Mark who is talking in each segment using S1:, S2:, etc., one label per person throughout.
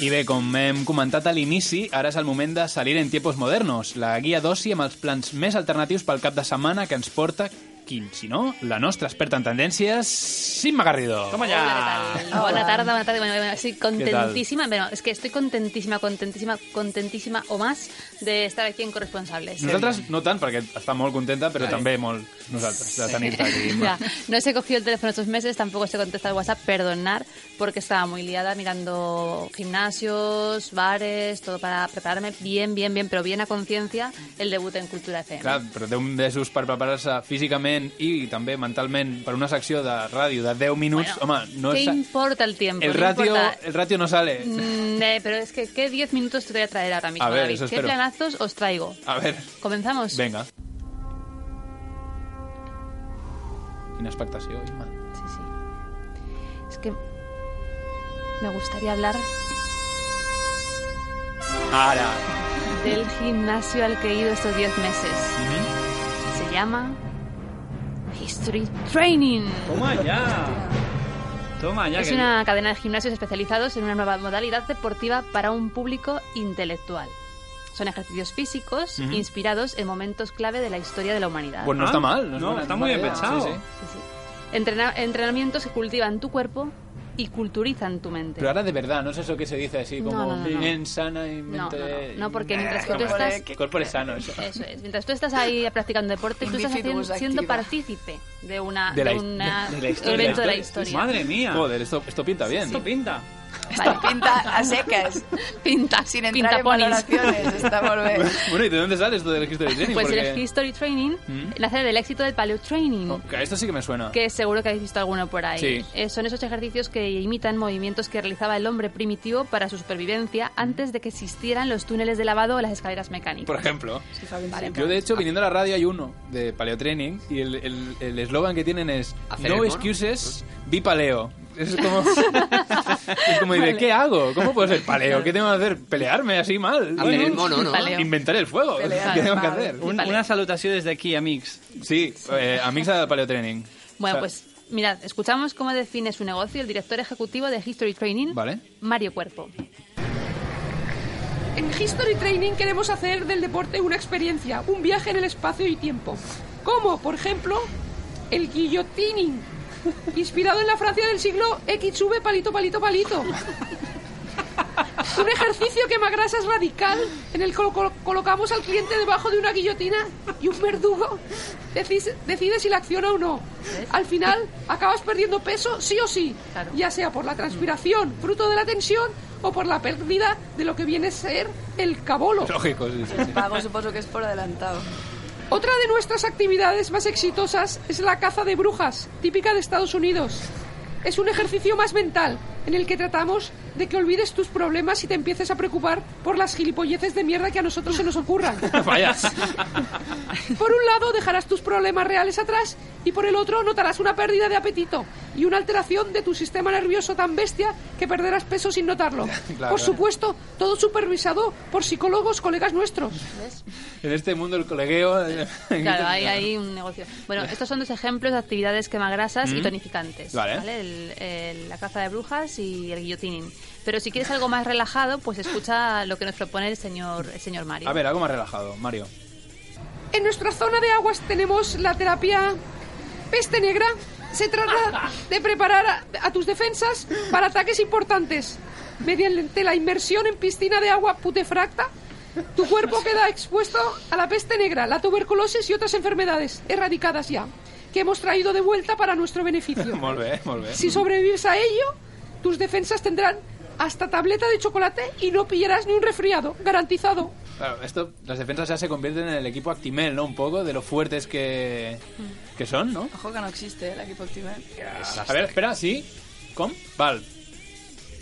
S1: I bé, com hem comentat a l'inici, ara és el moment de salir en tiempos modernos, la guia d'oci amb els plans més alternatius pel cap de setmana que ens porta quin, si no, la nostra experta en tendències, Simma Garrido.
S2: Toma ya.
S3: Buena tarde, buena tarde. Bueno, bueno, estoy
S1: tal?
S3: contentísima, pero es que estoy contentísima, contentísima, contentísima o más de estar aquí en Corresponsables.
S1: Nosaltres no tant, perquè està molt contenta, però també molt nosaltres, de tenir-te aquí.
S3: Ya, no os he cogido el teléfono estos meses, tampoco os he contestado el WhatsApp, perdonar, porque estaba muy liada mirando gimnasios, bares, todo para prepararme bien, bien, bien, pero bien a conciencia el debut en Cultura FM.
S1: Clar, però té un desús per preparar-se físicament i també mentalment per una secció de ràdio de 10 minuts.
S3: Bueno,
S1: Home, no
S3: ¿Qué
S1: és...
S3: importa el tiempo?
S1: El
S3: No
S1: ratio,
S3: importa.
S1: el ratio no sale.
S3: Mm, eh, pero es que, ¿qué 10 minutos te voy a traer ahora mismo,
S1: A ver,
S3: David?
S1: eso
S3: ¿Qué
S1: espero.
S3: planazos os traigo?
S1: A ver,
S3: ¿Comenzamos?
S1: venga. Quina expectació, Imma.
S3: Sí, sí. Es que me gustaría hablar
S1: Ara.
S3: del gimnasio al que he ido estos 10 meses.
S1: Mhm.
S3: Se llama History Training.
S2: Toma ya. Toma ya.
S3: Es
S2: que-
S3: una cadena de gimnasios especializados en una nueva modalidad deportiva para un público intelectual. Son ejercicios físicos
S1: Ujú.
S3: inspirados en momentos clave de la historia de la humanidad.
S1: Pues no
S2: Ah,
S1: està mal.
S2: no,
S1: mala-
S2: está
S1: mala
S2: muy bien
S1: idea.
S2: pensado.
S1: Sí, sí.
S3: Sí, sí. Entrena- entrenamientos que cultivan tu cuerpo y culturizan tu mente.
S1: Pero ahora de verdad, no es eso que se dice así,
S3: No,
S1: como
S3: no, no, no.
S1: bien sana y mente...
S3: No, no, no, no, porque mientras que
S1: Como
S3: tú estás... Eh.
S1: el cuerpo es sano, eso.
S3: Eso es. Mientras tú estás ahí practicando deporte, tú estás haciendo-
S4: Individuos
S3: siendo
S4: activa.
S3: partícipe de una
S1: De la
S3: de
S1: his-
S3: una-
S1: de la
S3: un
S1: historia.
S3: evento de la historia.
S2: Madre mía.
S1: Joder, esto, esto pinta bien.
S2: Esto pinta.
S3: Vale.
S4: Pinta a seques.
S3: Pinta,
S4: Sin entrar
S3: pinta
S4: en
S3: ponis.
S4: valoraciones. Está molt bé.
S1: Bueno, ¿y de dónde sale esto del history training?
S3: Pues
S1: Porque-
S3: el History Training
S1: ¿Mm?
S3: nace del éxito del Paleo Training.
S1: Oh, que esto sí que me suena.
S3: que seguro que habéis visto alguno por ahí.
S1: Sí.
S3: Eh, son esos ejercicios que imitan movimientos que realizaba el hombre primitivo para su
S1: ¿Mm?
S3: supervivencia antes de que existieran los túneles de lavado o las escaleras mecánicas.
S1: Por ejemplo.
S3: Vale,
S1: Yo, de hecho, viniendo a la radio hay uno de Paleo Training y el- el el eslogan que tienen es
S5: ¿Hacer el Pues
S1: No
S5: mono?
S1: excuses, be paleo. Es como, es como diré, ¿qué hago? ¿Cómo puedo ser paleo? ¿Qué tengo que hacer? ¿Pelearme así mal?
S5: Hacer el mono, ¿no?
S3: Paleo.
S1: Inventar el fuego.
S4: Pelear
S1: ¿Qué tengo que
S4: mal.
S1: hacer?
S2: Un-
S3: Vale.
S2: Una salutación desde aquí, amigos.
S1: Sí, eh, amixa del Paleo Training.
S3: Bueno,
S1: O
S3: pues
S1: sea,
S3: mirad, escuchamos cómo define su negocio el director ejecutivo de History Training,
S1: Vale.
S3: Mario Cuerpo.
S6: En History Training queremos hacer del deporte una experiencia, un viaje en el espacio y tiempo. Como, por ejemplo, el guillotining, inspirado en la Francia del siglo XV palito, palito, palito. Un ejercicio que grasa es radical, en el que colocamos al cliente debajo de una guillotina y un verdugo decis- decide si la acciona o no. Al final acabas perdiendo peso sí o sí,
S3: Claro.
S6: ya sea por la transpiración, fruto de la tensión, o por la pérdida de lo que viene a ser el cabolo.
S1: Lógico, sí, sí, sí.
S4: Pago supongo que es por adelantado.
S6: Otra de nuestras actividades más exitosas es la caza de brujas, típica de Estados Unidos. Es un ejercicio más mental, en el que tratamos de que olvides tus problemas y te empieces a preocupar por las gilipolleces de mierda que a nosotros se nos ocurran.
S1: Vaya.
S6: Por un lado dejarás tus problemas reales atrás y por el otro notarás una pérdida de apetito y una alteración de tu sistema nervioso tan bestia que perderás peso sin notarlo.
S1: Claro.
S6: por supuesto, todo supervisado por psicólogos, colegas nuestros.
S1: En este mundo el colegueo... eh,
S3: Claro, hay, hay un negocio. Bueno, estos son dos ejemplos de actividades quemagrasas y tonificantes.
S1: Mm. Vale.
S3: El- el- la caza de brujas y el guillotining. Pero si quieres algo más relajado, pues escucha lo que nos propone el señor, el señor Mario.
S1: A ver, algo más relajado, Mario.
S6: En nuestra zona de aguas tenemos la terapia peste negra. Se trata de preparar a, a tus defensas para ataques importantes. Mediante la inmersión en piscina de agua putefracta, tu cuerpo queda expuesto a la peste negra, la tuberculosis y otras enfermedades erradicadas ya, que hemos traído de vuelta para nuestro beneficio.
S1: Molt bé, molt bé.
S6: Si sobrevives a ello, tus defensas tendrán hasta tableta de chocolate y no pillarás ni un resfriado, garantizado.
S1: Claro, esto, las defensas ya se convierten en el equipo Actimel, ¿no? Un poco de lo fuertes que, que son, ¿no?
S4: Ojo que no existe el equipo ¿eh? Actimel.
S1: A veure, espera, sí? Com? Val.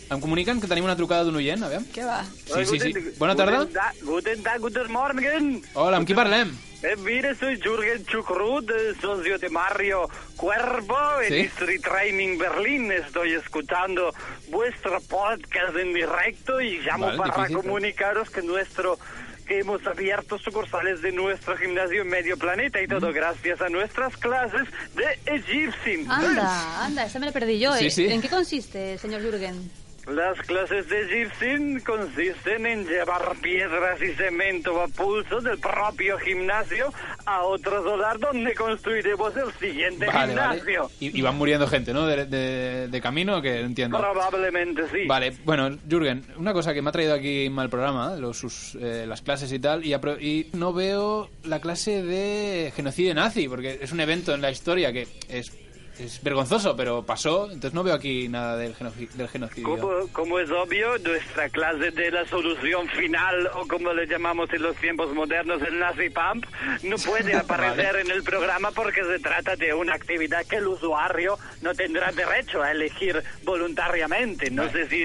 S1: Em comuniquen que tenim una trucada d'un oient, aviam.
S4: Què va?
S1: Sí, sí, sí. Bona tarda.
S7: Guten Tag, guten Tag, guten Morgen.
S1: Hola, amb qui parlem?
S7: Eh, Mire, soy Jürgen Chukrut, eh, socio de Mario Cuervo en
S1: Sí.
S7: History Training Berlín. Estoy escuchando vuestro podcast en directo y llamo
S1: Vale,
S7: para
S1: difícil, ¿eh? pero-
S7: comunicaros que nuestro que hemos abierto sucursales de nuestro gimnasio en medio planeta y
S1: Mm.
S7: todo gracias a nuestras clases de Egyptian.
S3: Anda, anda, esa me la perdí yo.
S1: Sí,
S3: ¿eh?
S1: sí.
S3: ¿En qué consiste, señor Jürgen?
S7: Las clases de Gibson consisten en llevar piedras y cemento a pulso del propio gimnasio a otro solar donde construiremos el siguiente
S1: Vale, vale.
S7: gimnasio.
S1: Y, y van muriendo gente, ¿no? De, de- de camino, que no entiendo.
S7: Probablemente sí.
S1: Vale, bueno, Jürgen, una cosa que me ha traído aquí mal programa, los, sus, eh, las clases y tal, y, apro- y no veo la clase de genocidio nazi, porque es un evento en la historia que es, es vergonzoso, pero pasó, entonces no veo aquí nada del, genoci- del genocidio.
S7: Como, como es obvio, nuestra clase de la solución final, o como le llamamos en los tiempos modernos el Nazi Pump, no puede aparecer en el programa porque se trata de una actividad que el usuario no tendrá derecho a elegir voluntariamente. No sé si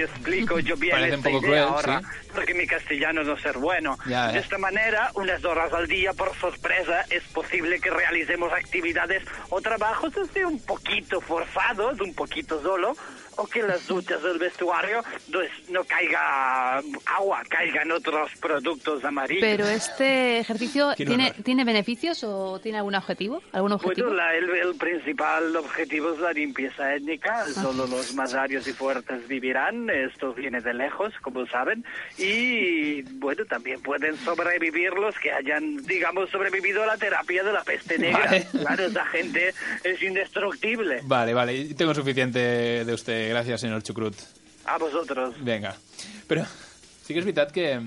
S7: explico yo bien
S1: Parece un
S7: esta
S1: poco
S7: idea
S1: cruel,
S7: ahora,
S1: sí.
S7: porque mi castellano no es ser bueno.
S1: Ya,
S7: De
S1: ya.
S7: esta manera, unas horas al día por sorpresa, es posible que realicemos actividades o trabajos así un poquito forzados, un poquito solo, o que en las duchas del vestuario pues, no caiga agua, caigan otros productos amarillos.
S3: Pero este ejercicio
S1: Qué
S3: tiene,
S1: horror.
S3: tiene beneficios o tiene algún objetivo, algún objetivo.
S7: Bueno, Pues la- el, el principal objetivo es la limpieza étnica. Solo los masarios y fuertes vivirán. Esto viene de lejos, como saben. Y bueno, también pueden sobrevivir los que hayan, digamos, sobrevivido a la terapia de la peste negra.
S1: Vale.
S7: Claro, esa gente es indestructible.
S1: Vale, vale, tengo suficiente de usted, gracias, señor Chucrut.
S7: A vosotros.
S1: Vinga. Però sí que és veritat que,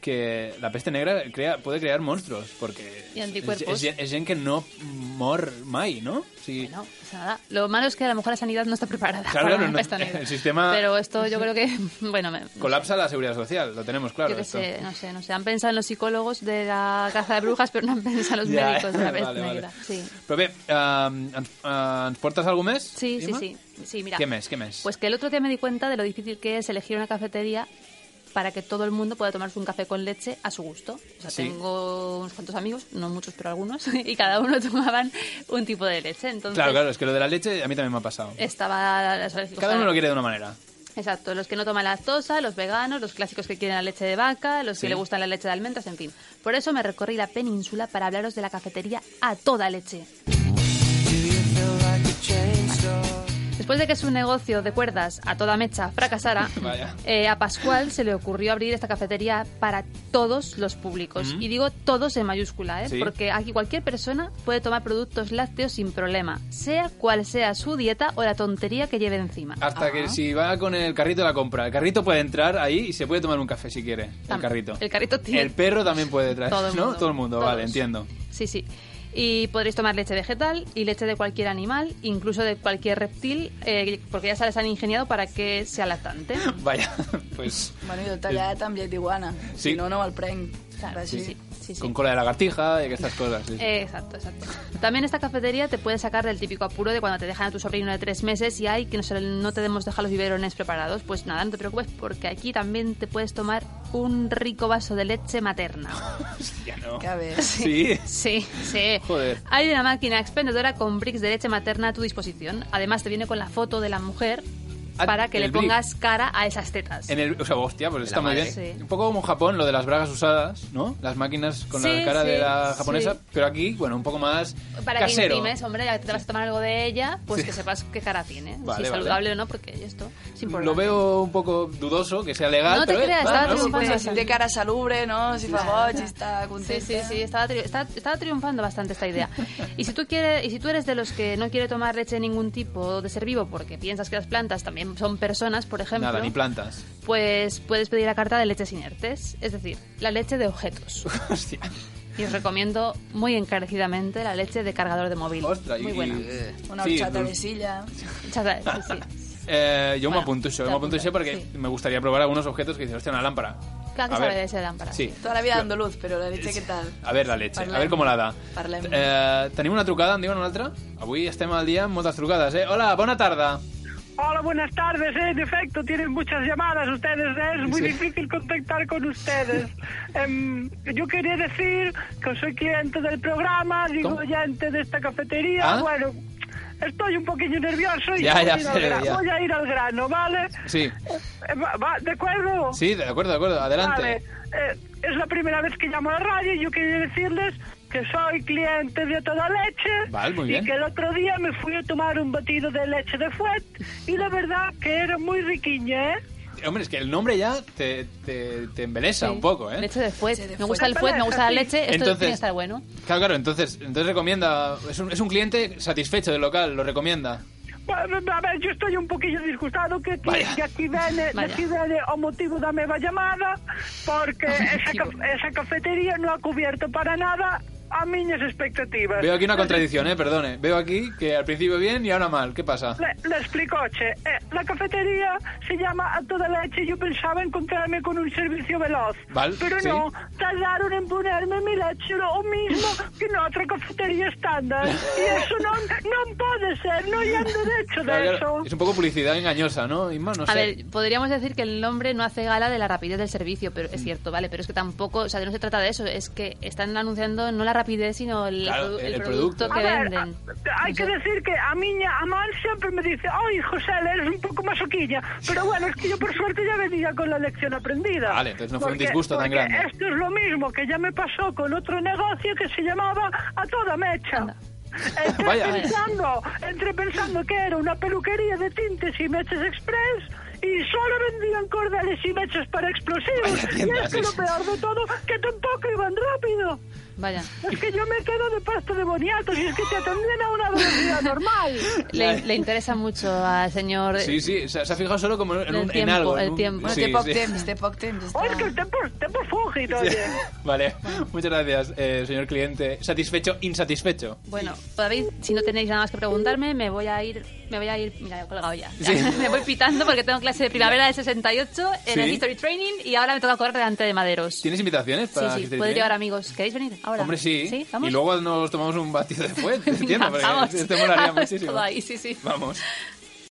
S1: que la peste negra crea, puede crear monstruos, perquè és,
S3: I anticuerpos.
S1: és, gent- és gent que no mor mai, no? O sigui,
S3: No, o sea, pues nada. Lo malo es que a lo mejor la sanidad no está preparada
S1: Claro,
S3: para
S1: claro,
S3: la
S1: no-
S3: peste negra.
S1: el sistema-
S3: Pero esto yo creo que, bueno, me-
S1: colapsa la seguridad social, lo tenemos claro.
S3: yo qué
S1: esto.
S3: sé, no sé, no sé. Han pensado en los psicólogos de la caza de brujas, pero no han pensado en los
S1: Ja,
S3: médicos de la
S1: vale,
S3: peste
S1: vale.
S3: negra. Sí.
S1: Però bé, eh, ens, eh, ens portes alguna més?
S3: Sí, sí,
S1: Ima?
S3: sí, sí. Mira,
S1: Què més, què més?
S3: Pues que el otro día me di cuenta de lo difícil que es elegir una cafetería para que todo el mundo pueda tomarse un café con leche a su gusto. O sea,
S1: Sí.
S3: tengo unos cuantos amigos, no muchos, pero algunos, y cada uno tomaban un tipo de leche. Entonces,
S1: Claro, claro, es que lo de la leche a mí también me ha pasado.
S3: estaba... o sea,
S1: Cada uno lo quiere de una manera.
S3: Exacto, los que no toman lactosa, los veganos, los clásicos que quieren la leche de vaca, los
S1: Sí.
S3: que le gustan la leche de almendras, en fin. Por eso me recorrí la península para hablaros de la cafetería a toda leche. Después de que su negocio de cuerdas a toda mecha fracasara,
S1: Vaya.
S3: eh, a Pascual se le ocurrió abrir esta cafetería para todos los públicos. Y digo todos en mayúscula, ¿eh?
S1: Mm. Sí.
S3: porque aquí cualquier persona puede tomar productos lácteos sin problema, sea cual sea su dieta o la tontería que lleve encima.
S1: Hasta que si va con el carrito de la compra, el carrito puede entrar ahí y se puede tomar un café si quiere. El
S3: Tam-
S1: carrito.
S3: el carrito tiene-
S1: El perro también puede traer,
S3: Todo el
S1: ¿no?
S3: mundo.
S1: Todo el mundo, vale,
S3: Todos.
S1: entiendo.
S3: Sí, sí. Y podréis tomar leche vegetal y leche de cualquier animal, incluso de cualquier reptil, eh, porque ya se les han ingeniado para que sea lactante.
S1: Vaya, pues
S4: Bueno, i el tallat amb llet d'iguana.
S1: Sí.
S4: Si no, no me'l prenc.
S3: Claro,
S4: Així.
S3: sí, sí. sí, sí.
S1: con cola de lagartija y estas cosas. sí.
S3: Eh, Exacto, exacto. También esta cafetería te puede sacar del típico apuro de cuando te dejan a tu sobrino de tres meses y hay que no, se- no te hemos dejado los biberones preparados. Pues nada, no te preocupes porque aquí también te puedes tomar un rico vaso de leche materna.
S1: Ya no.
S4: Que bé.
S1: Sí.
S3: Sí, sí.
S1: Joder.
S3: Hay una máquina expendedora con bricks de leche materna a tu disposición. Además te viene con la foto de la mujer
S1: Ah,
S3: para que
S1: el
S3: le
S1: brick.
S3: pongas cara a esas tetas.
S1: En el, o sea, hostia, pues está muy bien.
S3: madre. Sí.
S1: Un poco como en Japón, lo de las bragas usadas, ¿no? Las máquinas con la
S3: Sí,
S1: cara de
S3: sí,
S1: la japonesa,
S3: sí.
S1: pero aquí, bueno, un poco más
S3: Para que
S1: casero.
S3: intimes, hombre, ya que te vas a tomar algo de ella, pues que sepas qué cara tiene.
S1: Vale,
S3: si es
S1: vale.
S3: saludable o no, porque esto es importante.
S1: Lo veo un poco dudoso, que sea legal,
S3: No te
S1: pero eh,
S3: creas,
S1: va,
S3: estaba
S1: ¿no?
S4: Si,
S3: triunfando.
S4: bueno, si té pues, cara salubre, no? Si fa boig, i
S3: pues, Sí,
S4: està contenta.
S3: sí, sí, estaba, tri- está- estaba triunfando bastante esta idea. Y si tú quieres, y si tú eres de los que no quiere tomar leche de ningún tipo de ser vivo porque piensas que las plantas también son personas, por ejemplo,
S1: Nada, ni plantas.
S3: pues puedes pedir la carta de leches inertes, es decir, la leche de objetos.
S1: Hostia.
S3: Y os recomiendo muy encarecidamente la leche de cargador de móvil.
S1: Ostras,
S3: muy
S1: y-
S3: buena.
S1: y, eh,
S4: Una
S1: sí,
S4: horchata
S1: dul-
S4: de silla.
S3: Chata, sí, sí.
S1: Eh, yo me
S3: Bueno,
S1: apunto eso,
S3: te
S1: me apunto
S3: apuntas,
S1: eso porque
S3: sí.
S1: me gustaría probar algunos objetos que dicen, hostia, una lámpara.
S3: Claro que
S1: A
S3: sabe
S1: ver.
S3: de ese lámpara.
S1: Sí.
S4: Tota la vida d'andaluz, però la leche, què tal?
S1: A ver la leche, a
S4: Parlem.
S1: ver cómo la da.
S4: Parlem.
S1: Eh, tenim una trucada, en diuen una altra? Avui estem al dia amb moltes trucades, eh? Hola, bona tarda.
S7: Hola, buenas tardes. Eh. En efecto, tienen muchas llamadas ustedes. eh, Es muy
S1: Sí.
S7: difícil contactar con ustedes. Em, yo quería decir que soy cliente del programa, digo
S1: ¿Cómo?
S7: oyente de esta cafetería.
S1: Ah.
S7: Bueno, estoy un poquillo nervioso y
S1: Ya,
S7: voy,
S1: ya,
S7: a ir al
S1: pero
S7: gra-
S1: ya.
S7: voy a ir al grano, ¿vale?
S1: Sí,
S7: Eh, va- va, ¿De acuerdo?
S1: sí, de acuerdo, de acuerdo, adelante.
S7: Vale. Eh, es la primera vez que llamo a la radio y yo quería decirles que soy cliente de toda leche.
S1: Vale, muy bien.
S7: Y que el otro día me fui a tomar un batido de leche de fuet y la verdad que era muy riquiña, ¿eh?
S1: Hombre, es que el nombre ya te, te, te embeleza
S3: Sí.
S1: un poco, ¿eh?
S3: Leche de fuet.
S4: Leche de
S3: Me
S4: fuet.
S3: gusta el fuet, me gusta la leche. Esto
S1: Entonces-
S3: tiene que estar bueno.
S1: Claro, claro, entonces, entonces recomienda. Es un, es un cliente satisfecho del local, lo recomienda.
S6: Bueno, A ver, yo estoy un poquillo disgustado que aquí,
S1: Vaya.
S6: que aquí viene, de
S3: Vaya.
S6: aquí viene o motivo da meva llamada porque esa, ca- esa cafetería no ha cubierto para nada a miñas expectativas.
S1: Veo aquí una contradicción, ¿eh? Perdone. Veo aquí que al principio bien y ahora mal. ¿Qué pasa?
S6: Le, le explicoche, eh, la cafetería se llama A Toda Leche y yo pensaba encontrarme con un servicio veloz.
S1: Val,
S6: pero
S1: sí.
S6: no, tardaron en ponerme mi leche lo mismo que en otra cafetería estándar. Y eso no, no puede ser, no hay derecho de
S1: Claro,
S6: eso.
S1: claro, es un poco publicidad engañosa, ¿no? Inma, no
S3: A
S1: sé.
S3: ver, podríamos decir que el nombre no hace gala de la rapidez del servicio, pero
S1: Mm.
S3: es cierto, ¿vale? Pero es que tampoco, o sea, no se trata de eso, es que están anunciando no la rapidez, sino el,
S1: Claro,
S3: produ-
S1: el
S3: el
S1: producto.
S3: producto que
S6: a ver,
S3: venden.
S6: a- hay
S3: No
S6: que
S3: sé.
S6: decir que a miña Amal siempre me dice, ay, José, eres un poco masoquilla. Pero bueno, es que yo por suerte ya venía con la lección aprendida.
S1: Vale, entonces no fue un
S6: Porque-
S1: disgusto tan
S6: porque
S1: grande.
S6: Esto es lo mismo que ya me pasó con otro negocio que se llamaba A Toda Mecha. Entré
S1: Vaya.
S6: pensando, entré pensando que era una peluquería de tintes y mechas express y solo vendían cordales y mechas para explosivos.
S1: Vaya
S6: y
S1: tienda,
S6: es que
S1: sí,
S6: lo
S1: sí,
S6: peor de todo, que tampoco iban rápido.
S3: Vaya.
S6: Es que yo me quedo de pasto de boniatos y es que te atendían a una velocidad normal.
S3: Le, le interesa mucho al señor.
S1: Sí, sí, se, se ha fijado solo como en,
S3: El
S1: un, en
S3: pues, tiempo,
S1: algo. en
S3: el
S1: un-
S3: tiempo.
S4: Bueno, este
S1: sí,
S4: te poc
S1: sí.
S4: temps, te poc temps, ja
S6: O es que
S4: està.
S6: el tiempo, el tiempo es fúgido, oye.
S1: Vale, muchas gracias, eh, señor cliente. ¿Satisfecho, insatisfecho?
S3: Bueno, David, si no tenéis nada más que preguntarme, me voy a ir, me voy a ir, mira, he colgado ya.
S1: Sí.
S3: me voy pitando porque tengo clase de primavera de 68 en el
S1: Sí.
S3: History Training y ahora me toca correr delante de maderos.
S1: ¿Tienes invitaciones
S3: Sí,
S1: para
S3: sí,
S1: que te
S3: puedo
S1: lleven?
S3: llevar amigos. ¿Queréis venir ahora?
S1: Hombre, sí.
S3: ¿Sí? ¿Vamos?
S1: Y luego nos tomamos un batido de fuente,
S3: Venga,
S1: entiendo, porque
S3: vamos.
S1: te molaría muchísimo.
S3: Todo ahí, sí, sí.
S1: Vamos.